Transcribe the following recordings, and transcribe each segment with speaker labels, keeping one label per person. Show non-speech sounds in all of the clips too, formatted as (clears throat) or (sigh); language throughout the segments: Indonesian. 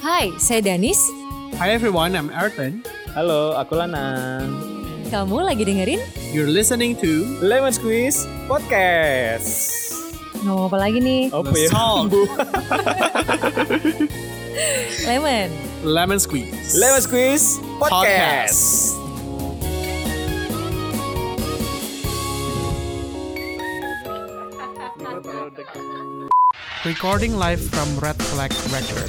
Speaker 1: Hai, saya Danis.
Speaker 2: Hi everyone, I'm Arton.
Speaker 3: Halo, aku Lana.
Speaker 1: Kamu lagi dengerin?
Speaker 2: You're listening to
Speaker 3: Lemon Squeeze Podcast.
Speaker 1: Ngomong apa lagi nih?
Speaker 3: Apa
Speaker 2: The
Speaker 3: ya?
Speaker 2: Song
Speaker 1: Lemon.
Speaker 2: Lemon Squeeze.
Speaker 3: (laughs) Lemon Squeeze Podcast.
Speaker 2: Recording live from Red Flag Record.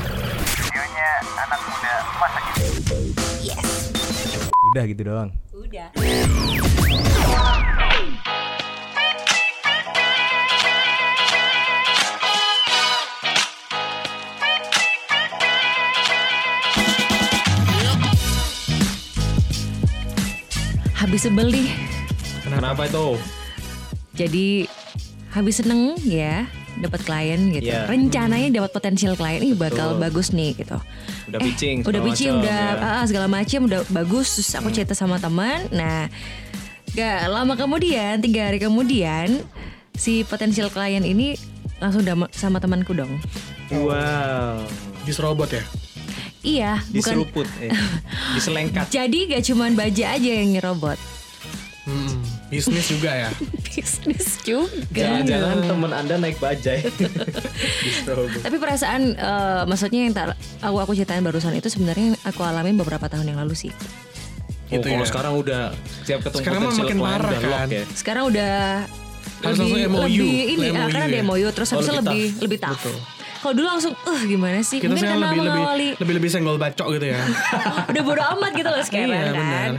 Speaker 4: Udah gitu doang.
Speaker 1: Udah. Habis sebel nih.
Speaker 4: Kenapa, itu?
Speaker 1: Jadi habis seneng ya dapat klien gitu.
Speaker 3: Iya.
Speaker 1: Rencananya dapat potensial klien ini bakal bagus nih gitu.
Speaker 3: Udah
Speaker 1: Eh,
Speaker 3: pitching, segala
Speaker 1: udah pitching,
Speaker 3: macam,
Speaker 1: udah
Speaker 3: ya. Hmm.
Speaker 1: ah, segala macam udah bagus. Terus aku cerita sama teman. Nah, gak lama kemudian, tiga hari kemudian si potensial klien ini langsung dam- sama temanku dong.
Speaker 3: Wow.
Speaker 2: Diserobot ya?
Speaker 1: Iya, bukan.
Speaker 3: Diseruput, eh.
Speaker 1: (laughs)
Speaker 3: diselengkat.
Speaker 1: Jadi gak cuman baja aja yang
Speaker 2: (laughs)
Speaker 1: nyerobot.
Speaker 2: Hmm, bisnis juga ya.
Speaker 1: Bisnis juga.
Speaker 3: Jangan-jangan temen anda naik bajai. Diseruput.
Speaker 1: Tapi perasaan eh, maksudnya yang tak aku aku ceritain barusan itu sebenarnya yang aku alamin beberapa tahun yang lalu sih.
Speaker 2: Gitu
Speaker 3: oh, kalau
Speaker 2: ya.
Speaker 3: sekarang udah tiap ketemu
Speaker 2: Sekarang mah
Speaker 3: potential
Speaker 2: makin
Speaker 3: client
Speaker 2: parah
Speaker 3: udah lock
Speaker 2: kan.
Speaker 3: ya.
Speaker 1: Sekarang udah
Speaker 2: Terus
Speaker 1: lebih,
Speaker 2: langsung MOU,
Speaker 1: lebih ini
Speaker 2: MOU
Speaker 1: ah, karena ada
Speaker 2: ya.
Speaker 1: MOU terus habis itu
Speaker 3: lebih
Speaker 1: lebih lebih tough. Kalau dulu langsung eh gimana sih?
Speaker 2: Kita
Speaker 1: Mungkin
Speaker 2: sekarang
Speaker 1: karena
Speaker 2: lebih lebih,
Speaker 1: mengawali
Speaker 2: lebih lebih senggol bacok gitu ya.
Speaker 1: (laughs) udah bodo amat gitu loh sekarang
Speaker 2: Iya,
Speaker 1: kan.
Speaker 2: benar.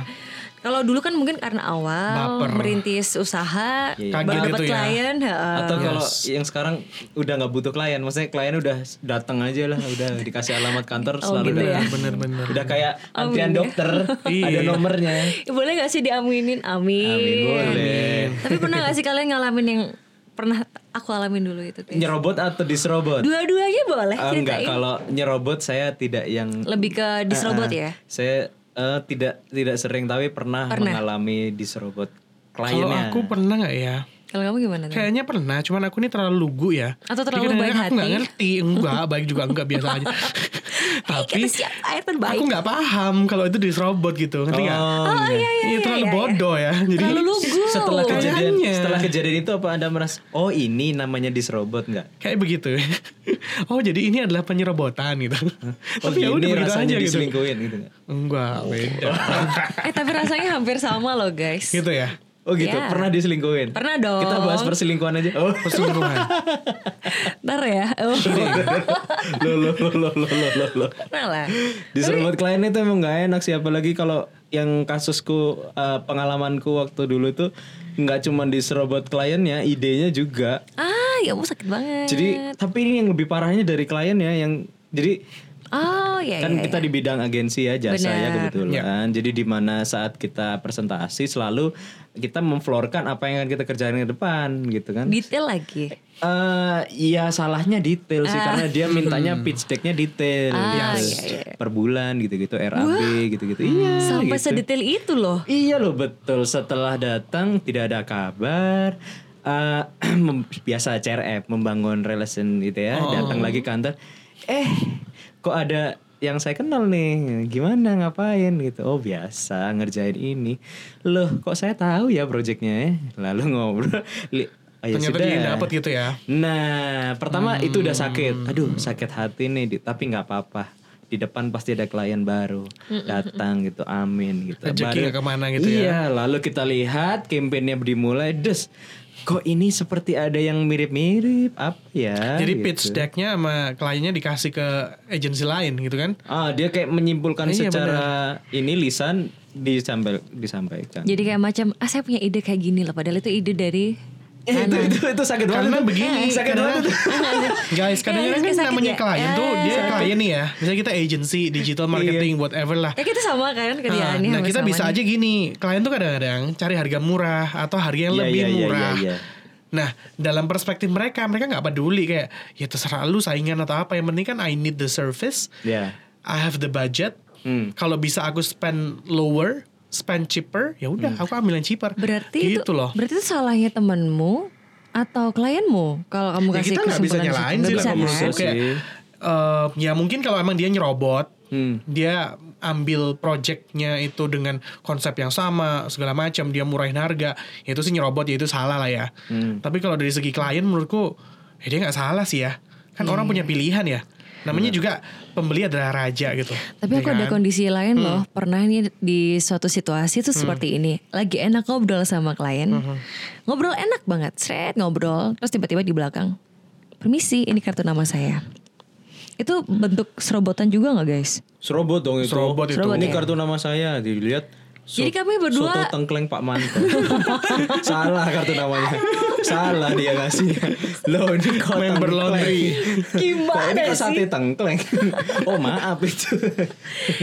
Speaker 1: Kalau dulu kan mungkin karena awal
Speaker 2: Baper.
Speaker 1: merintis usaha,
Speaker 3: Iya.
Speaker 1: baru
Speaker 2: Kaget
Speaker 1: dapat
Speaker 2: gitu ya.
Speaker 1: klien, heeh.
Speaker 3: Atau kalau yang sekarang udah nggak butuh klien, maksudnya klien udah datang aja lah, udah dikasih alamat kantor
Speaker 1: Oh,
Speaker 3: selalu
Speaker 1: gitu ya. Oh, iya.
Speaker 3: datang.
Speaker 2: Bener-bener.
Speaker 3: Udah kayak antrian
Speaker 1: (laughs)
Speaker 3: dokter,
Speaker 2: Iya.
Speaker 3: ada nomornya.
Speaker 1: Boleh gak sih diaminin? Amin.
Speaker 3: Amin, boleh.
Speaker 1: Tapi pernah gak sih kalian ngalamin yang pernah aku alamin dulu itu? Tis?
Speaker 3: Nyerobot atau diserobot?
Speaker 1: Dua-duanya boleh
Speaker 3: Ah,
Speaker 1: ceritain.
Speaker 3: enggak, kalau nyerobot saya tidak yang
Speaker 1: Lebih ke disrobot
Speaker 3: Ah,
Speaker 1: ya?
Speaker 3: ah. Saya eh, tidak tidak sering tapi pernah,
Speaker 1: Pernah.
Speaker 3: mengalami diserobot
Speaker 2: Kalau
Speaker 3: kliennya.
Speaker 2: aku pernah nggak ya?
Speaker 1: Kalau kamu gimana? Tis?
Speaker 2: Kayaknya pernah, cuman aku ini terlalu lugu ya.
Speaker 1: Atau
Speaker 2: Jadi
Speaker 1: terlalu
Speaker 2: kadang-kadang
Speaker 1: baik
Speaker 2: Aku nggak
Speaker 1: hati.
Speaker 2: ngerti, enggak baik juga enggak biasa aja.
Speaker 1: (laughs)
Speaker 2: Tapi
Speaker 1: Kita siap air terbaik.
Speaker 2: aku nggak paham kalau itu diserobot gitu, ngerti nggak?
Speaker 3: Oh,
Speaker 1: iya, iya,
Speaker 2: Iya, terlalu
Speaker 1: iya, iya.
Speaker 2: bodoh ya. Jadi
Speaker 1: Terlalu lugu.
Speaker 3: setelah kejadian
Speaker 2: Kayaknya.
Speaker 3: setelah kejadian itu apa Anda merasa oh ini namanya diserobot enggak?
Speaker 2: kayak begitu. (laughs) oh jadi ini adalah penyerobotan gitu.
Speaker 3: (laughs) Oh
Speaker 2: Tapi ya udah
Speaker 3: ini
Speaker 2: begitu
Speaker 3: rasanya
Speaker 2: aja gitu.
Speaker 3: diselingkuhin gitu enggak?
Speaker 2: Enggak,
Speaker 3: (laughs)
Speaker 2: beda.
Speaker 1: Eh tapi rasanya hampir sama loh guys.
Speaker 2: gitu ya.
Speaker 3: Oh gitu,
Speaker 1: Ya.
Speaker 3: pernah diselingkuhin.
Speaker 1: Pernah dong.
Speaker 3: Kita bahas perselingkuhan aja. (laughs) Oh.
Speaker 2: Perselingkuhan.
Speaker 1: Ntar ya. Oh,
Speaker 3: lo lo lo lo lo lo lo.
Speaker 1: pernah Nah lah.
Speaker 3: Diserobot kliennya itu emang gak enak sih apalagi kalau yang kasusku eh, pengalamanku waktu dulu tuh nggak cuma diserobot kliennya, idenya juga.
Speaker 1: Ah ya ampun sakit banget.
Speaker 3: Jadi tapi ini yang lebih parahnya dari kliennya yang jadi
Speaker 1: Oh ya
Speaker 3: kan
Speaker 1: ya.
Speaker 3: kita di bidang agensi ya jasa ya kebetulan. Jadi di mana saat kita presentasi selalu kita memflorkan apa yang akan kita kerjain ke depan gitu kan.
Speaker 1: Detail lagi.
Speaker 3: Eh ya salahnya detail sih karena dia mintanya
Speaker 2: Hmm.
Speaker 3: pitch decknya detail
Speaker 1: Ah,
Speaker 3: gitu.
Speaker 1: iya, Hmm. iya.
Speaker 3: per bulan gitu-gitu RAB gitu-gitu. Iya.
Speaker 1: Sampai
Speaker 3: gitu.
Speaker 1: sedetail itu loh.
Speaker 3: Iya loh betul setelah datang tidak ada kabar Eh, (clears throat) mem- biasa CRF membangun relation gitu ya
Speaker 2: Oh.
Speaker 3: datang lagi kantor eh kok ada yang saya kenal nih gimana ngapain gitu oh biasa ngerjain ini loh kok saya tahu ya projectnya ya lalu ngobrol Li- oh, ya
Speaker 2: Ternyata
Speaker 3: sudah.
Speaker 2: dia dapat gitu ya.
Speaker 3: Nah, pertama itu
Speaker 2: Hmm.
Speaker 3: udah sakit. Aduh, sakit hati nih, Di- tapi nggak apa-apa. Di depan pasti ada klien baru datang gitu, amin gitu.
Speaker 2: Rezeki nggak kemana gitu
Speaker 3: iya, lalu kita lihat kampanyenya dimulai, des. Kok ini seperti ada yang mirip-mirip apa ya?
Speaker 2: Jadi
Speaker 3: gitu.
Speaker 2: pitch deck-nya sama kliennya dikasih ke agensi lain gitu kan.
Speaker 3: Ah, dia kayak menyimpulkan
Speaker 2: Iya,
Speaker 3: secara ini lisan disampel disampaikan.
Speaker 1: Jadi kayak macam ah saya punya ide kayak gini loh. Padahal itu ide dari
Speaker 3: Eh, itu, itu itu sakit
Speaker 2: Iya. Karena
Speaker 3: banget. tuh. Eh,
Speaker 2: begini,
Speaker 3: sakit
Speaker 2: karena- (laughs)
Speaker 3: banget. tuh.
Speaker 2: Guys, kadang-kadang
Speaker 1: Iya,
Speaker 2: kan
Speaker 1: sakit
Speaker 2: namanya
Speaker 1: ya.
Speaker 2: klien tuh
Speaker 1: Eh,
Speaker 2: dia klien nih ya. Misalnya kita agency, digital
Speaker 3: Iya.
Speaker 2: marketing, whatever lah.
Speaker 1: Ya kita sama kan
Speaker 2: Nah,
Speaker 3: Ah,
Speaker 1: kerjaannya
Speaker 2: nah, kita
Speaker 1: sama-sama
Speaker 2: bisa
Speaker 1: nih.
Speaker 2: aja gini, klien tuh kadang-kadang cari harga murah atau harga yang
Speaker 3: Iya,
Speaker 2: lebih
Speaker 3: iya, iya,
Speaker 2: murah.
Speaker 3: iya, iya.
Speaker 2: Nah, dalam perspektif mereka, mereka nggak peduli kayak ya terserah lu saingan atau apa. Yang penting kan I need the service,
Speaker 3: Iya.
Speaker 2: I have the budget.
Speaker 3: Hmm.
Speaker 2: Kalau bisa aku spend lower, spend cheaper, ya
Speaker 3: Hmm.
Speaker 2: udah aku ambil yang cheaper.
Speaker 1: Berarti
Speaker 2: gitu
Speaker 1: itu
Speaker 2: loh.
Speaker 1: Berarti itu salahnya temenmu atau klienmu kalau kamu
Speaker 2: Ya,
Speaker 1: kasih
Speaker 2: kita nggak bisa
Speaker 1: kesimpulan di situ.
Speaker 2: nyalain
Speaker 1: Nggak
Speaker 2: sih lah
Speaker 1: bisa,
Speaker 2: kalau menurut
Speaker 1: kan?
Speaker 2: gue kayak eh, ya mungkin kalau emang dia nyerobot
Speaker 3: Hmm.
Speaker 2: dia ambil projectnya itu dengan konsep yang sama segala macam dia murahin harga ya itu sih nyerobot ya itu salah lah ya tapi kalau dari segi klien menurutku ya dia nggak salah sih ya kan orang punya pilihan ya namanya juga pembeli adalah raja gitu
Speaker 1: Tapi
Speaker 2: Ya
Speaker 1: aku ada
Speaker 2: kan?
Speaker 1: kondisi lain loh. Pernah nih di suatu situasi
Speaker 2: Hmm.
Speaker 1: tuh seperti ini. Lagi enak ngobrol sama klien. Ngobrol enak banget. Seret ngobrol. Terus tiba-tiba di belakang. Permisi, ini kartu nama saya. Itu bentuk serobotan juga nggak
Speaker 2: (laughs)
Speaker 1: guys?
Speaker 3: Serobot dong itu.
Speaker 2: Serobot
Speaker 1: itu. Serobot
Speaker 3: Ini
Speaker 1: ya?
Speaker 3: kartu nama saya dilihat. so-
Speaker 1: Jadi kami berdua-
Speaker 3: Soto tengkleng Pak
Speaker 1: (laughs)
Speaker 3: Manto. Salah kartu namanya. Salah dia ngasih. Loh ini kok
Speaker 2: Member
Speaker 3: tengkleng?
Speaker 2: laundry.
Speaker 3: Kok ini
Speaker 1: Gimana
Speaker 3: kok sate
Speaker 1: sih?
Speaker 3: tengkleng? (laughs) oh maaf itu.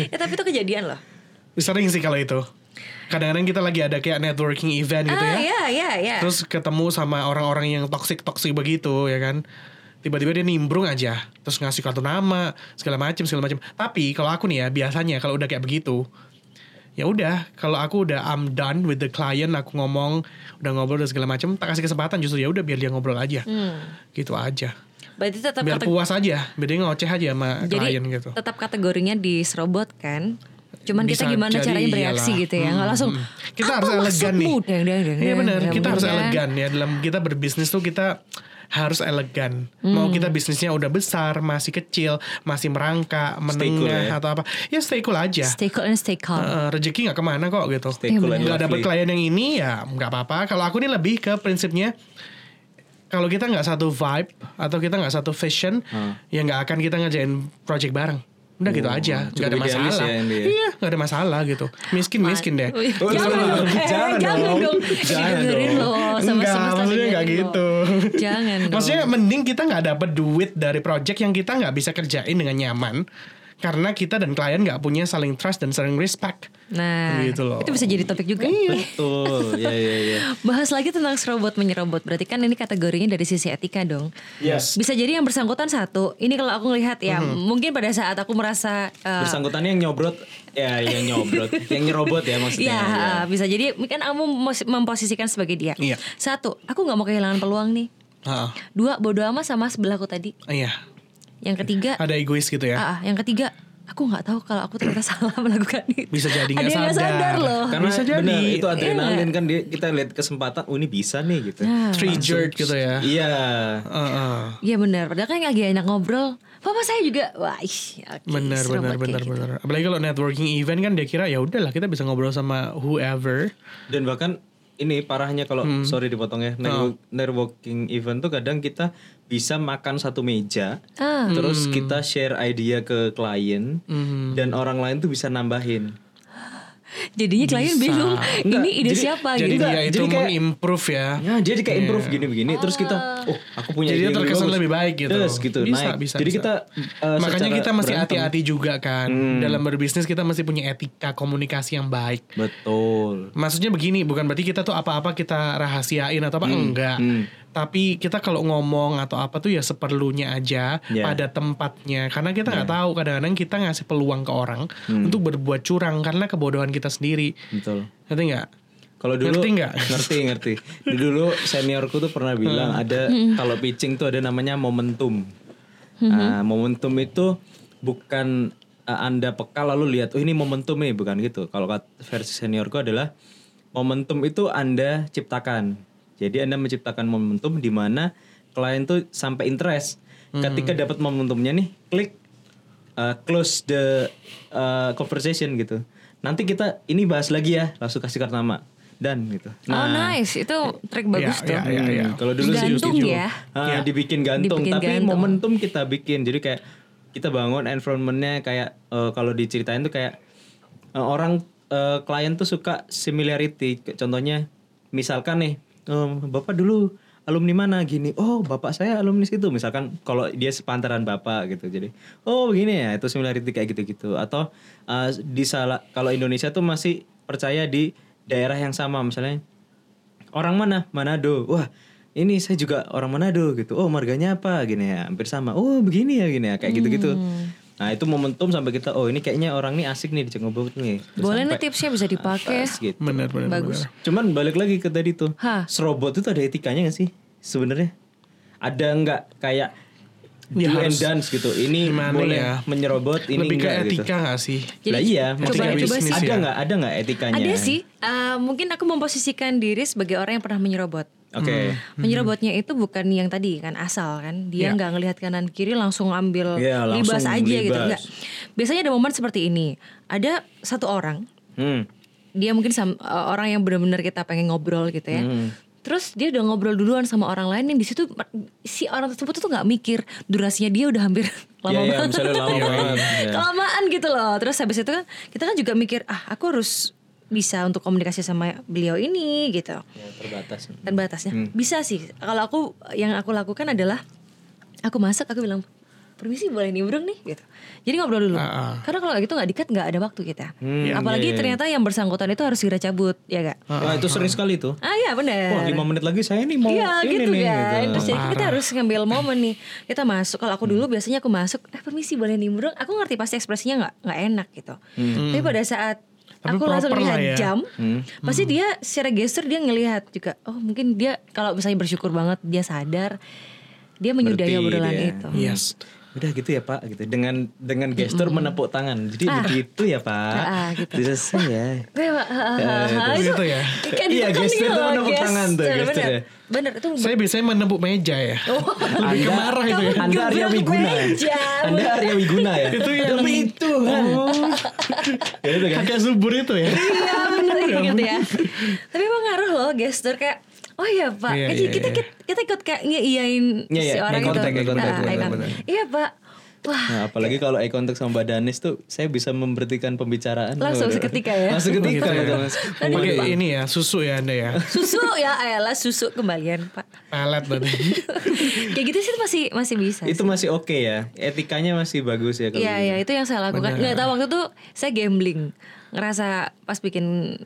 Speaker 1: Eh, tapi itu kejadian loh.
Speaker 2: sering sih kalau itu kadang-kadang kita lagi ada kayak networking event gitu
Speaker 1: ah
Speaker 2: ya
Speaker 1: ya ya ya.
Speaker 2: terus ketemu sama orang-orang yang toksik toksik begitu ya kan tiba-tiba dia nimbrung aja terus ngasih kartu nama segala macam segala macam tapi kalau aku nih ya biasanya kalau udah kayak begitu ya udah kalau aku udah I'm done with the client aku ngomong udah ngobrol dan segala macam tak kasih kesempatan justru ya udah biar dia ngobrol aja gitu aja
Speaker 1: Berarti tetap
Speaker 2: biar
Speaker 1: kate-
Speaker 2: puas aja biar dia ngoceh aja sama
Speaker 1: jadi
Speaker 2: klien gitu
Speaker 1: tetap kategorinya diserobot kan. Cuman
Speaker 2: Bisa
Speaker 1: kita gimana
Speaker 2: jadi
Speaker 1: caranya bereaksi
Speaker 2: iyalah. Hmm.
Speaker 1: gitu ya. Nggak langsung
Speaker 2: kita
Speaker 1: "Apa
Speaker 2: harus elegan nih
Speaker 1: maksudmu?" Deng, deng, deng,
Speaker 2: iya
Speaker 1: deng,
Speaker 2: benar
Speaker 1: deng,
Speaker 2: kita
Speaker 1: deng,
Speaker 2: harus
Speaker 1: kan?
Speaker 2: elegan ya dalam kita berbisnis tuh kita harus elegan mau
Speaker 1: Hmm.
Speaker 2: kita bisnisnya udah besar masih kecil masih merangkak
Speaker 3: Stay cool
Speaker 2: menengah
Speaker 3: ya.
Speaker 2: atau apa ya stay cool aja
Speaker 1: Stay cool and stay calm.
Speaker 2: Eh, rezeki nggak kemana kok gitu
Speaker 3: Ah. Stay cool
Speaker 1: Iya,
Speaker 3: and
Speaker 2: nggak dapet
Speaker 3: lovely.
Speaker 2: klien yang ini ya nggak apa-apa kalau aku ini lebih ke prinsipnya kalau kita nggak satu vibe atau kita nggak satu fashion ya nggak akan kita ngerjain project bareng udah gitu
Speaker 3: Ah. Oh,
Speaker 2: aja nggak
Speaker 3: cukup
Speaker 2: ada
Speaker 3: idealis
Speaker 2: masalah
Speaker 3: ya, Indi ya?
Speaker 2: iya nggak ada masalah gitu miskin miskin deh
Speaker 1: Oh, iya.
Speaker 3: Oh,
Speaker 1: jangan
Speaker 3: jangan
Speaker 1: dong, Eh,
Speaker 2: (laughs)
Speaker 3: dong. Jangan
Speaker 1: jangan
Speaker 3: dong.
Speaker 1: dong.
Speaker 3: Jangan
Speaker 1: Didengerin
Speaker 3: dong.
Speaker 1: loh, sama
Speaker 2: Enggak,
Speaker 1: semesta
Speaker 2: maksudnya
Speaker 1: dengerin
Speaker 2: nggak
Speaker 1: loh.
Speaker 2: gitu. (laughs)
Speaker 1: Jangan dong.
Speaker 2: Maksudnya mending kita nggak dapet duit dari project yang kita nggak bisa kerjain dengan nyaman karena kita dan klien nggak punya saling trust dan saling respect.
Speaker 1: nah,
Speaker 2: Gitu loh. Iya.
Speaker 1: itu bisa jadi topik juga.
Speaker 3: Betul. Ya ya ya.
Speaker 1: Bahas lagi tentang serobot menyerobot. Berarti kan ini kategorinya dari sisi etika dong.
Speaker 2: Yes.
Speaker 1: Bisa jadi yang bersangkutan satu. Ini kalau aku ngelihat ya,
Speaker 2: Mm-hmm.
Speaker 1: mungkin pada saat aku merasa eh,
Speaker 3: Bersangkutannya yang nyobrot ya yang nyobrot, yang nyerobot ya maksudnya.
Speaker 1: Ya,
Speaker 3: ya.
Speaker 1: bisa jadi kan kamu mos- memposisikan sebagai dia.
Speaker 2: Iya.
Speaker 1: Satu, aku nggak mau kehilangan peluang nih.
Speaker 2: Ha,
Speaker 3: Ah.
Speaker 1: Dua, bodo amat sama sebelahku tadi.
Speaker 2: iya.
Speaker 1: Yang ketiga,
Speaker 2: Ada egois gitu ya.
Speaker 1: ah, ah, yang ketiga, aku nggak tahu kalau aku ternyata (laughs) salah melakukan itu.
Speaker 2: Bisa jadi nggak
Speaker 1: Ada yang nggak
Speaker 2: sadar.
Speaker 1: sadar loh.
Speaker 3: Karena
Speaker 2: Bisa jadi.
Speaker 3: benar, itu
Speaker 2: Iya
Speaker 3: adrenalin kan dia, kita lihat kesempatan, oh ini bisa nih gitu.
Speaker 1: Nah.
Speaker 2: Triggered gitu ya.
Speaker 3: Iya.
Speaker 2: Heeh.
Speaker 1: Iya benar. Padahal kan lagi enak ngobrol. Papa saya juga, wah, ih, oke,
Speaker 2: Benar,
Speaker 1: serem
Speaker 2: benar,
Speaker 1: banget
Speaker 2: benar,
Speaker 1: kayak gitu.
Speaker 2: benar. Apalagi kalau networking event kan dia kira ya udahlah kita bisa ngobrol sama whoever.
Speaker 3: Dan bahkan ini parahnya kalau
Speaker 2: Hmm.
Speaker 3: sorry dipotong ya. Network-
Speaker 2: Oh.
Speaker 3: Networking event tuh kadang kita bisa makan satu meja,
Speaker 1: Ah.
Speaker 3: terus kita share idea ke klien
Speaker 2: Hmm.
Speaker 3: dan orang lain tuh bisa nambahin.
Speaker 1: Jadinya klien bingung, ini ide
Speaker 3: jadi-
Speaker 1: siapa
Speaker 2: Jadi
Speaker 1: gitu.
Speaker 2: dia itu
Speaker 3: Jadi kayak-
Speaker 2: mengimprove ya.
Speaker 3: Ya, jadi kayak improve gini-begini terus kita oh, aku punya
Speaker 2: Jadi
Speaker 3: ide yang
Speaker 2: terkesan
Speaker 3: bagus.
Speaker 2: lebih baik gitu.
Speaker 3: Yes, gitu.
Speaker 2: Bisa,
Speaker 3: naik.
Speaker 2: bisa,
Speaker 3: jadi
Speaker 2: bisa.
Speaker 3: kita eh,
Speaker 2: Makanya
Speaker 3: secara
Speaker 2: kita mesti
Speaker 3: berantem. Hmm.
Speaker 2: hati-hati juga kan dalam berbisnis kita mesti punya etika komunikasi yang baik.
Speaker 3: Betul.
Speaker 2: Maksudnya begini, bukan berarti kita tuh apa-apa kita rahasiain atau apa
Speaker 3: Hmm,
Speaker 2: enggak. Tapi kita kalau ngomong atau apa tuh ya seperlunya aja
Speaker 3: Yeah.
Speaker 2: pada tempatnya. Karena kita nggak
Speaker 3: Ya.
Speaker 2: tahu kadang-kadang kita ngasih peluang ke orang
Speaker 3: Hmm.
Speaker 2: untuk berbuat curang karena kebodohan kita sendiri.
Speaker 3: Betul.
Speaker 2: Ngerti nggak?
Speaker 3: Kalau dulu
Speaker 2: Ngerti nggak?
Speaker 3: Ngerti, ngerti. Dulu seniorku tuh pernah bilang ada kalau pitching tuh ada namanya momentum. Nah, momentum itu bukan eh, Anda peka lalu lihat oh ini momentum nih, bukan gitu. Kalau kat- versi seniorku adalah momentum itu Anda ciptakan. Jadi Anda menciptakan momentum di mana klien tuh sampai interest. Ketika dapat momentumnya nih, klik uh, close the uh, conversation gitu. Nanti kita ini bahas lagi ya, langsung kasih kartu nama dan gitu.
Speaker 1: Oh nice, itu trik bagus tuh.
Speaker 2: Nah. Iya, iya, iya, iya.
Speaker 3: Hmm, Kalau dulu sih
Speaker 1: Gantung
Speaker 3: setuju.
Speaker 1: ya.
Speaker 3: Ah, dibikin gantung,
Speaker 1: Dibikin
Speaker 3: tapi
Speaker 1: gantung.
Speaker 3: momentum kita bikin. Jadi kayak kita bangun environmentnya kayak eh, kalau diceritain tuh kayak eh, orang eh, klien tuh suka similarity. Kayak Contohnya misalkan nih, em, bapak dulu alumni mana gini oh bapak saya alumni situ misalkan kalau dia sepantaran bapak gitu jadi oh begini ya itu similarity kayak gitu gitu atau eh, di salah kalau Indonesia tuh masih percaya di daerah yang sama misalnya orang mana? Manado. Wah, ini saya juga orang Manado gitu. Oh, marganya apa? Gini ya, hampir sama. Oh, begini ya, gini ya, kayak gitu-gitu.
Speaker 1: Hmm.
Speaker 3: Nah, itu momentum sampai kita, oh ini kayaknya orang nih asik nih di Cenggobot nih. Terus
Speaker 1: Boleh nih
Speaker 3: sampai
Speaker 1: tipsnya bisa dipakai.
Speaker 3: atas gitu.
Speaker 2: Benar, benar.
Speaker 1: Bagus.
Speaker 3: Cuman balik lagi ke tadi tuh.
Speaker 1: Hah.
Speaker 3: Serobot itu ada etikanya gak sih sebenarnya? Ada nggak kayak
Speaker 2: Ya,
Speaker 3: do and
Speaker 2: harus
Speaker 3: dance gitu. Ini
Speaker 2: gimana
Speaker 3: boleh
Speaker 2: ya?
Speaker 3: menyerobot, ini
Speaker 2: lebih ke ya?
Speaker 3: enggak gitu.
Speaker 2: etika nggak sih?
Speaker 1: Jadi,
Speaker 3: lah iya,
Speaker 1: coba-
Speaker 3: maksudnya
Speaker 1: coba
Speaker 3: bisnis
Speaker 2: sih.
Speaker 3: ada nggak ada nggak etikanya?
Speaker 1: Ada sih, eh, mungkin aku memposisikan diri sebagai orang yang pernah menyerobot. Hmm.
Speaker 3: Oke. Hmm.
Speaker 1: Menyerobotnya itu bukan yang tadi kan asal kan, dia
Speaker 2: Iya.
Speaker 1: nggak ngelihat kanan kiri langsung ambil
Speaker 3: Iya, langsung
Speaker 1: libas aja gitu,
Speaker 3: libas.
Speaker 1: enggak. Biasanya ada momen seperti ini. Ada satu orang,
Speaker 3: Hmm.
Speaker 1: dia mungkin sam- eh, orang yang benar-benar kita pengen ngobrol gitu ya.
Speaker 3: Hmm.
Speaker 1: Terus dia udah ngobrol duluan sama orang lain yang di situ si orang tersebut tuh nggak mikir durasinya dia udah hampir (laughs) lama
Speaker 3: Iya, iya,
Speaker 1: banget.
Speaker 3: misalnya lama banget. Iya.
Speaker 1: Kelamaan gitu loh. Terus habis itu kan kita kan juga mikir ah aku harus bisa untuk komunikasi sama beliau ini gitu.
Speaker 3: Ya, terbatas.
Speaker 1: Dan batasnya
Speaker 3: Hmm.
Speaker 1: bisa sih. Kalau aku yang aku lakukan adalah aku masak aku bilang permisi boleh nimbrung nih gitu. Jadi ngobrol dulu.
Speaker 2: Ah,
Speaker 1: Karena kalau gitu nggak dikat nggak ada waktu kita.
Speaker 3: Hmm,
Speaker 1: Apalagi
Speaker 3: iya, iya.
Speaker 1: ternyata yang bersangkutan itu harus segera cabut ya gak?
Speaker 3: Wah, itu sering sekali tuh.
Speaker 1: Ah ya benar.
Speaker 3: Wah, lima menit lagi saya nih mau
Speaker 1: Iya
Speaker 3: ini
Speaker 1: gitu
Speaker 3: nih.
Speaker 1: kan Terus jadi kita
Speaker 2: Parah.
Speaker 1: harus ngambil momen nih Kita masuk Kalau aku dulu biasanya aku masuk Eh permisi boleh nimbrung Aku ngerti pasti ekspresinya nggak nggak enak gitu
Speaker 3: Hmm.
Speaker 1: Tapi pada saat
Speaker 2: Tapi
Speaker 1: Aku langsung
Speaker 2: proper lah
Speaker 1: lihat
Speaker 2: ya.
Speaker 1: jam Pasti
Speaker 3: Hmm.
Speaker 1: dia secara gestur dia ngelihat juga Oh mungkin dia Kalau misalnya bersyukur banget Dia sadar Dia menyudahi
Speaker 3: Berarti
Speaker 1: obrolan
Speaker 3: dia- Iya.
Speaker 1: itu
Speaker 2: Yes.
Speaker 3: Udah gitu ya Pak, gitu dengan dengan gestur menepuk tangan. Jadi begitu ya Pak.
Speaker 1: Ah, gitu.
Speaker 3: Selesai ya.
Speaker 1: Gue "Ah, ha- ha- ha- ha-
Speaker 2: terus
Speaker 1: itu
Speaker 2: gitu ya?
Speaker 1: kan-
Speaker 3: Iya,
Speaker 1: kan
Speaker 3: gestur
Speaker 1: gitu
Speaker 3: tuh
Speaker 1: loh,
Speaker 3: menepuk tangan tuh,
Speaker 1: gestur,
Speaker 3: gestur
Speaker 1: bener.
Speaker 3: ya.
Speaker 1: Bener itu
Speaker 2: Saya biasanya menempuk meja ya. Lebih ke marah itu ya.
Speaker 3: Anda Arya Wiguna ya?
Speaker 1: Meja,
Speaker 3: Anda Arya Wiguna
Speaker 1: (laughs)
Speaker 3: ya?
Speaker 2: Itu yang-
Speaker 3: Demi itu
Speaker 1: Oh.
Speaker 3: kan. ya itu kan.
Speaker 2: Kakek subur itu ya.
Speaker 1: Iya bener gitu ya Tapi emang ngaruh loh gestur kayak Oh iya pak
Speaker 2: Iya,
Speaker 1: Kayak
Speaker 2: iya,
Speaker 1: kita,
Speaker 2: iya.
Speaker 1: kita, kita ikut kayak ngeiyain
Speaker 3: Iya, iya,
Speaker 1: si orang
Speaker 3: make
Speaker 1: itu
Speaker 3: contact, make contact,
Speaker 1: Ah,
Speaker 3: bener,
Speaker 1: eye contact.
Speaker 3: bener.
Speaker 1: Iya pak Wah
Speaker 3: Nah, apalagi kalau eye contact sama Mbak Danis tuh saya bisa memberhentikan pembicaraan.
Speaker 1: Langsung
Speaker 3: Waduh.
Speaker 1: seketika ya?
Speaker 3: Langsung seketika
Speaker 2: Gitu
Speaker 3: gitu,
Speaker 2: ya.
Speaker 3: Mas.
Speaker 2: Pakai ini ya, susu ya Anda ya.
Speaker 1: Susu ya elah susu kembalian
Speaker 2: (laughs)
Speaker 1: pak
Speaker 2: Pelet berarti.
Speaker 1: Kayak gitu sih masih masih bisa
Speaker 2: Iya,
Speaker 3: Itu masih oke ya. Etikanya masih bagus ya kalau.
Speaker 1: Iya
Speaker 3: gitu.
Speaker 1: iya itu yang saya lakukan Gak tahu waktu itu saya gambling Ngerasa pas bikin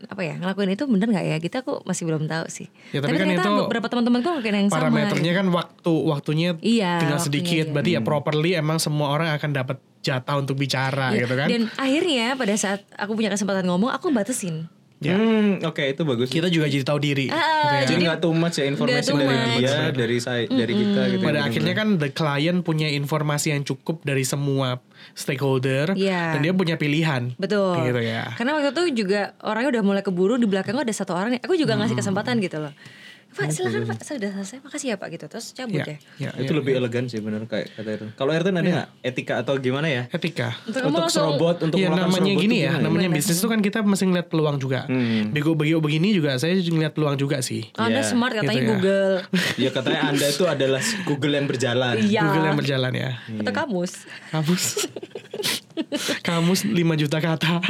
Speaker 1: apa ya ngelakuin itu bener nggak ya gitu aku masih belum tahu sih
Speaker 2: Ya, tapi kan
Speaker 1: ternyata
Speaker 2: itu
Speaker 1: beberapa teman-temanku ngelakuin yang sama gitu.
Speaker 2: Parameternya kan waktu, waktunya
Speaker 1: Iya,
Speaker 2: tinggal
Speaker 1: waktunya
Speaker 2: sedikit.
Speaker 1: aja.
Speaker 2: Berarti ya properly emang semua orang akan dapat jatah untuk bicara
Speaker 1: Iya,
Speaker 2: gitu kan.
Speaker 1: Dan akhirnya pada saat aku punya kesempatan ngomong aku batasin
Speaker 2: Ya.
Speaker 3: Hmm, oke itu bagus.
Speaker 2: Kita juga jadi tahu diri.
Speaker 1: Ah,
Speaker 2: gitu ya.
Speaker 3: Jadi
Speaker 1: Jadi-
Speaker 3: nggak too much ya informasi
Speaker 1: Nggak too
Speaker 3: dari
Speaker 1: much.
Speaker 3: dia, dari saya, dari kita gitu.
Speaker 2: Pada akhirnya kan the client punya informasi yang cukup dari semua stakeholder
Speaker 1: Iya.
Speaker 2: dan dia punya pilihan.
Speaker 1: Betul.
Speaker 2: Gitu ya.
Speaker 1: Karena waktu itu juga orangnya udah mulai keburu di belakang gua ada satu orang nih. Aku juga ngasih
Speaker 2: Hmm.
Speaker 1: kesempatan gitu loh. Pak
Speaker 2: Gitu.
Speaker 1: silakan pak, saya udah selesai. Makasih ya pak gitu. Terus cabut
Speaker 2: Ya,
Speaker 1: deh.
Speaker 2: ya,
Speaker 3: itu
Speaker 2: ya.
Speaker 3: lebih elegan sih bener kayak kata Erton. Kalau Erton
Speaker 2: Iya.
Speaker 3: ada nggak etika atau gimana ya?
Speaker 2: etika.
Speaker 1: Untuk kamu langsung
Speaker 3: serobot untuk
Speaker 2: ya
Speaker 3: melakukan
Speaker 2: namanya
Speaker 3: serobot
Speaker 2: gini
Speaker 3: itu
Speaker 2: ya,
Speaker 3: gimana
Speaker 2: namanya bisnis itu kan kita mesti ngeliat peluang juga. Bego-bego begini juga saya ngeliat peluang juga sih.
Speaker 1: Oh, Anda
Speaker 3: Ya,
Speaker 1: smart katanya
Speaker 2: gitu ya. (laughs)
Speaker 1: Google
Speaker 3: Ya katanya Anda itu adalah Google yang berjalan.
Speaker 1: Iya.
Speaker 2: Google yang berjalan ya.
Speaker 1: atau kamus.
Speaker 2: Kamus. Kamus 5 juta kata.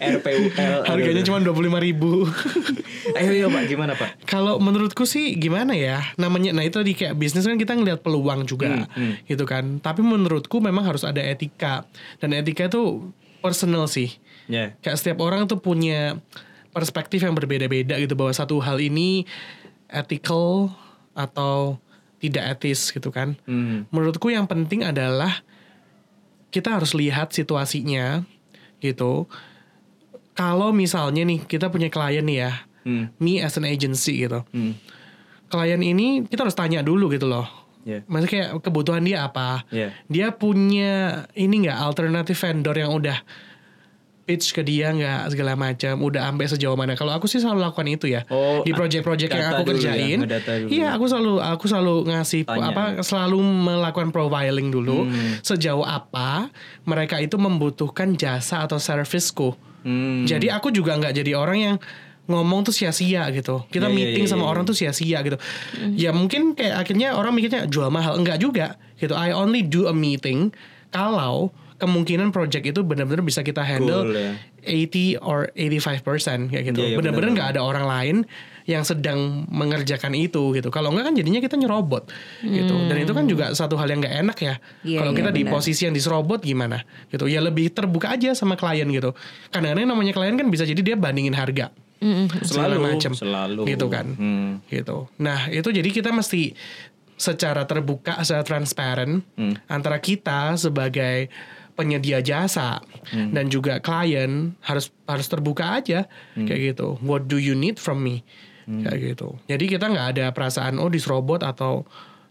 Speaker 3: RPUL.
Speaker 2: Harganya cuma 25 ribu.
Speaker 3: Ayo ayo Eh, iya, Pak, gimana Pak?
Speaker 2: Kalau menurutku sih gimana ya namanya, nah itu tadi kayak bisnis kan kita ngeliat peluang juga, gitu kan. Tapi menurutku memang harus ada etika dan etika itu personal sih.
Speaker 3: Ya.
Speaker 2: Kayak setiap orang tuh punya perspektif yang berbeda-beda gitu bahwa satu hal ini ethical atau tidak etis gitu kan.
Speaker 3: Hmm,
Speaker 2: Menurutku yang penting adalah kita harus lihat situasinya gitu. Kalau misalnya nih kita punya klien nih ya,
Speaker 3: Hmm.
Speaker 2: me as an agency gitu.
Speaker 3: Hmm.
Speaker 2: Klien ini kita harus tanya dulu gitu loh.
Speaker 3: Ya.
Speaker 2: Maksudnya kayak kebutuhan dia apa?
Speaker 3: Iya.
Speaker 2: Dia punya ini nggak alternatif vendor yang udah pitch ke dia nggak segala macam udah ampe sejauh mana kalau aku sih selalu lakukan itu ya
Speaker 3: Oh,
Speaker 2: di project-project yang
Speaker 3: data
Speaker 2: aku
Speaker 3: dulu ya,
Speaker 2: kerjain
Speaker 3: ngedata dulu.
Speaker 2: iya aku selalu aku selalu ngasih
Speaker 3: Tanya. Hmm.
Speaker 2: apa selalu melakukan profiling dulu sejauh apa mereka itu membutuhkan jasa atau servisku
Speaker 3: Hmm.
Speaker 2: jadi aku juga nggak jadi orang yang ngomong tuh sia-sia gitu. Kita
Speaker 3: Iya, iya,
Speaker 2: meeting
Speaker 3: iya,
Speaker 2: sama
Speaker 3: iya.
Speaker 2: orang tuh sia-sia gitu.
Speaker 1: Mm-hmm.
Speaker 2: Ya mungkin kayak akhirnya orang mikirnya jual mahal enggak juga gitu. I only do a meeting kalau kemungkinan project itu benar-benar bisa kita handle
Speaker 3: Goal, ya.
Speaker 2: 80 or 85% kayak gitu.
Speaker 3: Iya, iya,
Speaker 2: benar-benar
Speaker 3: benar.
Speaker 2: nggak ada orang lain yang sedang mengerjakan itu gitu. Kalau enggak kan jadinya kita nyerobot gitu. Dan itu kan juga satu hal yang nggak enak ya.
Speaker 1: Hmm. Iya,
Speaker 2: kalau
Speaker 1: iya,
Speaker 2: kita di
Speaker 1: benar.
Speaker 2: posisi yang diserobot gimana gitu ya lebih terbuka aja sama klien gitu kadang-kadang yang namanya klien kan bisa jadi dia bandingin harga segala
Speaker 3: Selalu,
Speaker 2: macam
Speaker 3: selalu.
Speaker 2: gitu kan
Speaker 3: Hmm.
Speaker 2: gitu nah itu jadi kita mesti secara terbuka secara transparan
Speaker 3: Hmm.
Speaker 2: antara kita sebagai penyedia jasa
Speaker 3: Hmm.
Speaker 2: dan juga klien harus harus terbuka aja
Speaker 3: Hmm.
Speaker 2: kayak gitu what do you need from me kayak gitu jadi kita nggak ada perasaan oh diserobot atau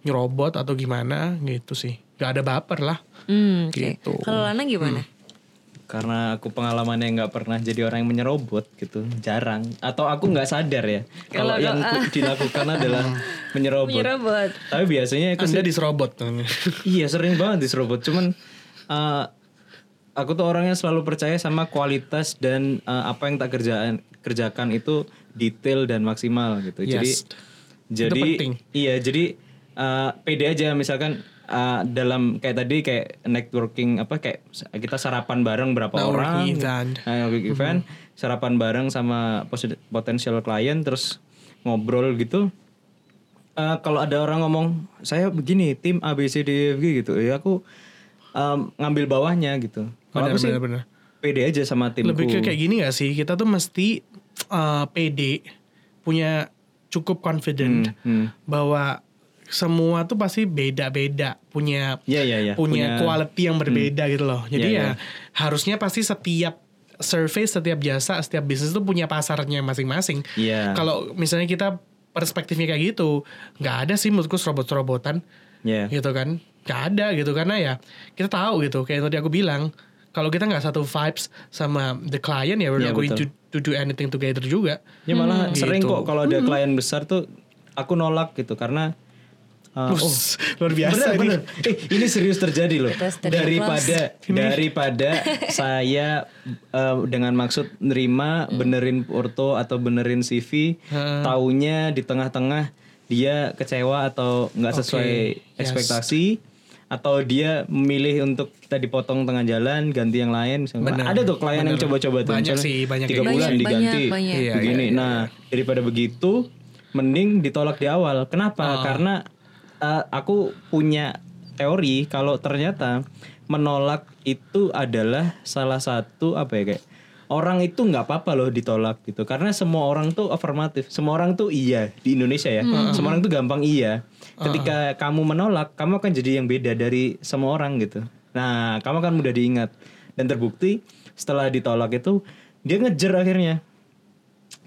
Speaker 2: nyerobot atau gimana gitu sih Gak ada baper lah
Speaker 1: Hmm, oke.
Speaker 2: Gitu. Hmm.
Speaker 1: Kalau Lana gimana?
Speaker 3: karena aku pengalamannya nggak pernah jadi orang yang menyerobot gitu jarang atau aku nggak sadar ya kalau
Speaker 1: Kalau-
Speaker 3: yang ku- dilakukan adalah menyerobot.
Speaker 1: Menyerobot.
Speaker 3: tapi biasanya aku
Speaker 2: Anda
Speaker 3: sih-
Speaker 2: diserobot namanya.
Speaker 3: iya sering banget diserobot cuman eh, aku tuh orangnya selalu percaya sama kualitas dan eh, apa yang tak kerjaan kerjakan itu detail dan maksimal gitu jadi
Speaker 2: Yes.
Speaker 3: jadi
Speaker 2: penting.
Speaker 3: iya jadi eh, pede aja misalkan eh, dalam kayak tadi kayak networking apa kayak sa- kita sarapan bareng berapa orang
Speaker 2: Networking event.
Speaker 3: Nah, networking
Speaker 2: Mm-hmm.
Speaker 3: event sarapan bareng sama posi- potensial klien terus ngobrol gitu Eh, kalau ada orang ngomong saya begini tim A B C D E, F G gitu ya aku em, ngambil bawahnya gitu kalau
Speaker 2: Benar,
Speaker 3: aku sih
Speaker 2: benar, benar.
Speaker 3: pede aja sama timku
Speaker 2: Oh, Lebih ke kayak gini gak sih? Kita tuh mesti uh, pede, punya cukup confident
Speaker 3: hmm.
Speaker 2: bahwa semua tuh pasti beda-beda, punya
Speaker 3: Iya, iya, iya.
Speaker 2: punya
Speaker 3: Punya- mm.
Speaker 2: quality yang berbeda gitu loh. Jadi
Speaker 3: Iya,
Speaker 2: ya harusnya pasti setiap service, setiap jasa, setiap bisnis tuh punya pasarnya masing-masing.
Speaker 3: Iya.
Speaker 2: Kalau misalnya kita perspektifnya kayak gitu, nggak ada sih menurutku serobot-serobotan
Speaker 3: Iya.
Speaker 2: gitu kan nggak ada gitu karena ya kita tahu gitu kayak yang tadi aku bilang kalau kita nggak satu vibes sama the client ya we're
Speaker 3: Iya,
Speaker 2: not going to,
Speaker 3: betul.
Speaker 2: to do anything together juga
Speaker 3: Ya malah
Speaker 2: Hmm.
Speaker 3: sering
Speaker 2: Gitu.
Speaker 3: kok kalau ada klien besar tuh aku nolak gitu karena uh, oh,
Speaker 2: Ups, (laughs) luar biasa ini.
Speaker 3: bener, bener. Eh, ini serius terjadi loh.
Speaker 1: Atas dari
Speaker 3: Daripada
Speaker 2: (laughs)
Speaker 3: daripada saya uh, dengan maksud nerima
Speaker 2: Hmm.
Speaker 3: benerin porto atau benerin CV, taunya di tengah-tengah dia kecewa atau nggak sesuai
Speaker 2: Oke, yes.
Speaker 3: ekspektasi atau dia memilih untuk kita dipotong tengah jalan ganti yang lain misalnya.
Speaker 2: Bener,
Speaker 3: ada tuh klien yang
Speaker 2: bener.
Speaker 3: coba-coba tuh
Speaker 2: Banyak
Speaker 3: misalnya
Speaker 2: sih, banyak
Speaker 3: tiga
Speaker 2: kayak gitu.
Speaker 3: bulan
Speaker 1: Banyak,
Speaker 3: diganti
Speaker 1: banyak, banyak.
Speaker 2: Iya,
Speaker 3: begini nah daripada begitu mending ditolak di awal kenapa
Speaker 2: Ah.
Speaker 3: karena uh, aku punya teori kalau ternyata menolak itu adalah salah satu apa ya kayak orang itu nggak apa-apa loh ditolak gitu karena semua orang tuh afirmatif semua orang tuh iya di Indonesia ya semua orang tuh gampang iya ketika kamu menolak kamu akan jadi yang beda dari semua orang gitu nah kamu akan mudah diingat dan terbukti setelah ditolak itu dia ngejer akhirnya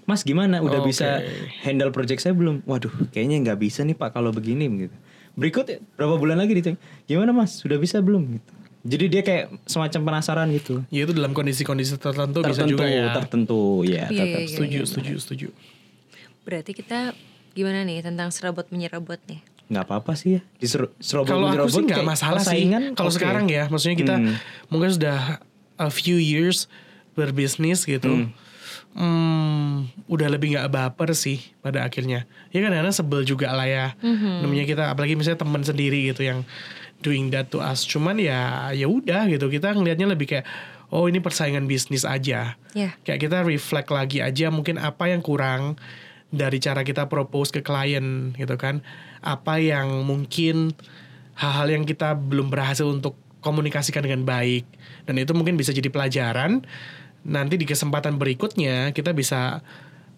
Speaker 3: Mas gimana udah
Speaker 2: Oke.
Speaker 3: bisa handle project saya belum? Waduh, kayaknya nggak bisa nih Pak kalau begini gitu. Berikut berapa bulan lagi dicek. Gimana Mas? Sudah bisa belum gitu. Jadi dia kayak semacam penasaran gitu.
Speaker 2: ya itu dalam kondisi-kondisi tertentu, bisa
Speaker 3: Tertentu,
Speaker 2: juga ya
Speaker 3: tertentu
Speaker 1: Iya,
Speaker 3: ya, tetap.
Speaker 1: iya,
Speaker 2: setuju setuju setuju
Speaker 1: Berarti kita gimana nih tentang serobot menyerobot nih?
Speaker 3: Nggak apa-apa sih ya. Diser- serobot-
Speaker 2: kalau aku sih
Speaker 3: dirobot
Speaker 2: nggak
Speaker 3: kayak
Speaker 2: masalah sih
Speaker 3: persaingan,
Speaker 2: kalau
Speaker 3: oke. Hmm.
Speaker 2: sekarang ya maksudnya kita mungkin sudah a few years berbisnis gitu Hmm, udah lebih nggak baper sih pada akhirnya ya kan karena sebel juga lah ya namanya kita apalagi misalnya teman sendiri gitu yang doing that to us cuman ya ya udah gitu kita ngelihatnya lebih kayak oh ini persaingan bisnis aja
Speaker 1: Ya.
Speaker 2: kayak kita reflect lagi aja mungkin apa yang kurang dari cara kita propose ke klien gitu kan apa yang mungkin hal-hal yang kita belum berhasil untuk komunikasikan dengan baik dan itu mungkin bisa jadi pelajaran nanti di kesempatan berikutnya kita bisa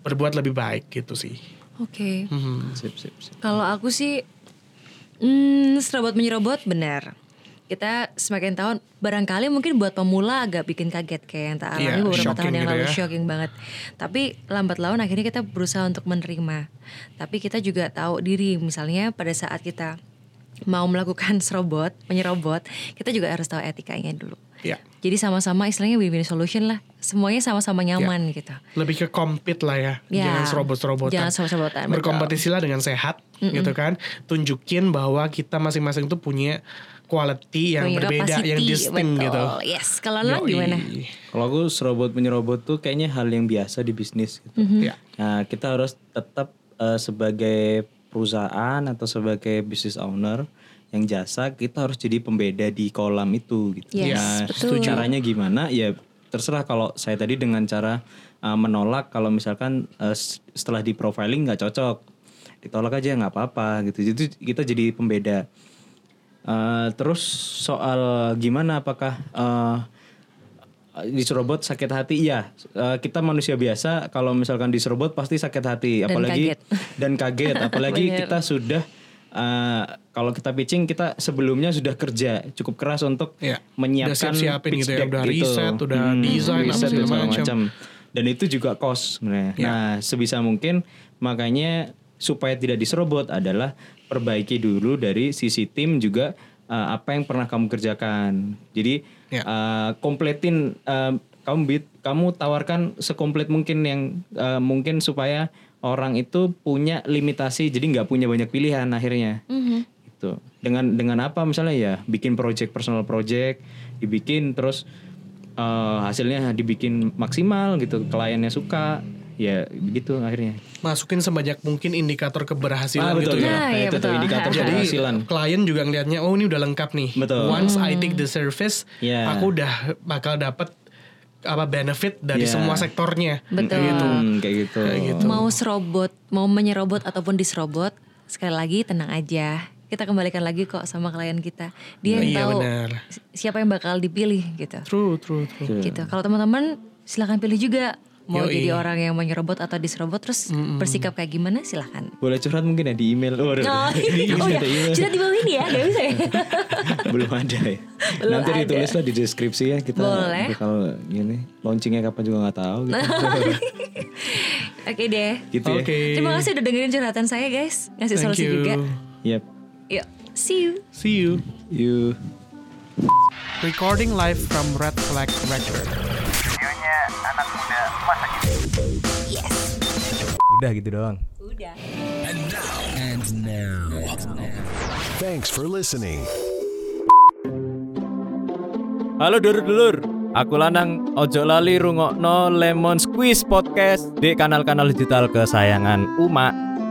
Speaker 2: berbuat lebih baik gitu sih Hmm,
Speaker 1: Oke.
Speaker 3: Sip, sip, sip.
Speaker 1: Kalau aku sih hmm, serobot menyerobot benar. Kita semakin tahun barangkali mungkin buat pemula agak bikin kaget kayak yang tak alami
Speaker 2: Iya,
Speaker 1: beberapa tahun
Speaker 2: shocking
Speaker 1: yang
Speaker 2: gitu
Speaker 1: lalu
Speaker 2: ya.
Speaker 1: shocking banget. Tapi lambat laun akhirnya kita berusaha untuk menerima. Tapi kita juga tahu diri misalnya pada saat kita mau melakukan (laughs) serobot, menyerobot, kita juga harus tahu etikanya dulu.
Speaker 2: Iya.
Speaker 1: Jadi sama-sama istilahnya win-win solution lah. Semuanya sama-sama
Speaker 2: Iya.
Speaker 1: nyaman gitu.
Speaker 2: lebih ke compete lah ya,
Speaker 1: Ya,
Speaker 2: jangan serobot-serobotan
Speaker 1: jangan serobot-serobotan, betul.
Speaker 2: berkompetisilah dengan sehat gitu kan tunjukin bahwa kita masing-masing tuh punya quality yang
Speaker 1: Punya
Speaker 2: berbeda yang
Speaker 1: capacity,
Speaker 2: distinct
Speaker 1: betul.
Speaker 2: gitu
Speaker 1: Yes, kalau lo gimana?
Speaker 2: Yoi. Mm-hmm.
Speaker 3: Kalau aku serobot menyerobot tuh kayaknya hal yang biasa di bisnis gitu.
Speaker 2: Ya.
Speaker 3: Nah, kita harus tetap eh, sebagai perusahaan atau sebagai business owner yang jasa kita harus jadi pembeda di kolam itu gitu.
Speaker 1: Yes,
Speaker 3: Nah,
Speaker 1: betul.
Speaker 3: caranya gimana? Ya terserah kalau saya tadi dengan cara eh, menolak kalau misalkan eh, s- setelah di profiling nggak cocok ditolak aja nggak apa-apa gitu. Jadi kita jadi pembeda. Eh, terus soal gimana apakah eh, diserobot sakit hati iya Eh, kita manusia biasa kalau misalkan diserobot pasti sakit hati apalagi
Speaker 1: kaget.
Speaker 3: dan kaget apalagi kita sudah eh, kalau kita pitching kita sebelumnya sudah kerja cukup keras untuk
Speaker 2: Iya.
Speaker 3: menyiapkan
Speaker 2: Udah siap-siapin
Speaker 3: pitch
Speaker 2: gitu ya,
Speaker 3: deck
Speaker 2: udah riset, udah desain, apa segala
Speaker 3: riset dan segala
Speaker 2: macam. Iya.
Speaker 3: macam dan itu juga cost sebenarnya nah sebisa mungkin makanya supaya tidak diserobot adalah perbaiki dulu dari sisi tim juga eh, apa yang pernah kamu kerjakan. Jadi
Speaker 2: Ya.
Speaker 3: eh, kompletin eh, kamu bit- kamu tawarkan sekomplit mungkin yang eh, mungkin supaya orang itu punya limitasi jadi nggak punya banyak pilihan akhirnya
Speaker 1: Mhm.
Speaker 3: gitu dengan dengan apa misalnya ya bikin project personal project dibikin terus eh, hasilnya dibikin maksimal gitu kliennya suka ya begitu akhirnya
Speaker 2: masukin sebanyak mungkin indikator keberhasilan
Speaker 3: Ah,
Speaker 1: ya.
Speaker 2: gitu ya.
Speaker 1: Nah, iya,
Speaker 3: itu tuh
Speaker 1: betul.
Speaker 3: indikator
Speaker 2: Jadi
Speaker 3: keberhasilan
Speaker 2: klien juga ngelihatnya oh ini udah lengkap nih.
Speaker 3: Betul.
Speaker 2: Once I take the service,
Speaker 3: Yeah.
Speaker 2: aku udah bakal dapat apa benefit dari
Speaker 3: Yeah.
Speaker 2: semua sektornya.
Speaker 1: Betul.
Speaker 3: Hmm, kayak gitu
Speaker 1: Mau serobot, mau menyerobot ataupun diserobot, sekali lagi tenang aja. Kita kembalikan lagi kok sama klien kita. Dia yang
Speaker 2: Iya,
Speaker 1: tahu
Speaker 2: benar.
Speaker 1: si- siapa yang bakal dipilih gitu.
Speaker 2: True, true, true.
Speaker 1: Gitu. Kalau teman-teman silakan pilih juga mau
Speaker 2: Iya. Yoi.
Speaker 1: jadi orang yang menyerobot atau diserobot terus bersikap kayak gimana silakan.
Speaker 3: boleh curhat mungkin ya (laughs) di
Speaker 1: Oh,
Speaker 2: (laughs)
Speaker 3: email oh, Ini
Speaker 2: Iya,
Speaker 1: oh ya,
Speaker 3: ada email.
Speaker 1: cerita di bawah ini ya, gak bisa ya.
Speaker 3: belum ada ya
Speaker 1: Belum
Speaker 3: nanti
Speaker 1: ada.
Speaker 3: ditulislah di deskripsi ya kita
Speaker 1: Boleh.
Speaker 3: kalau ini launchingnya kapan juga nggak tahu gitu,
Speaker 1: Nah. Oke deh.
Speaker 3: (laughs) gitu
Speaker 2: Oke.
Speaker 1: Terima kasih udah dengerin curhatan saya guys, ngasih
Speaker 2: Thank
Speaker 1: solusi
Speaker 2: you.
Speaker 1: juga.
Speaker 3: ya yep
Speaker 1: Yuk, see you.
Speaker 2: See you.
Speaker 3: you
Speaker 2: Recording live from Red Flag Record.
Speaker 4: Udah gitu doang.
Speaker 1: Udah.
Speaker 5: Thanks for listening.
Speaker 6: Halo dulur-dulur, aku Lanang. Ojo lali rungokno Lemon Squeeze Podcast di kanal-kanal digital kesayangan Uma.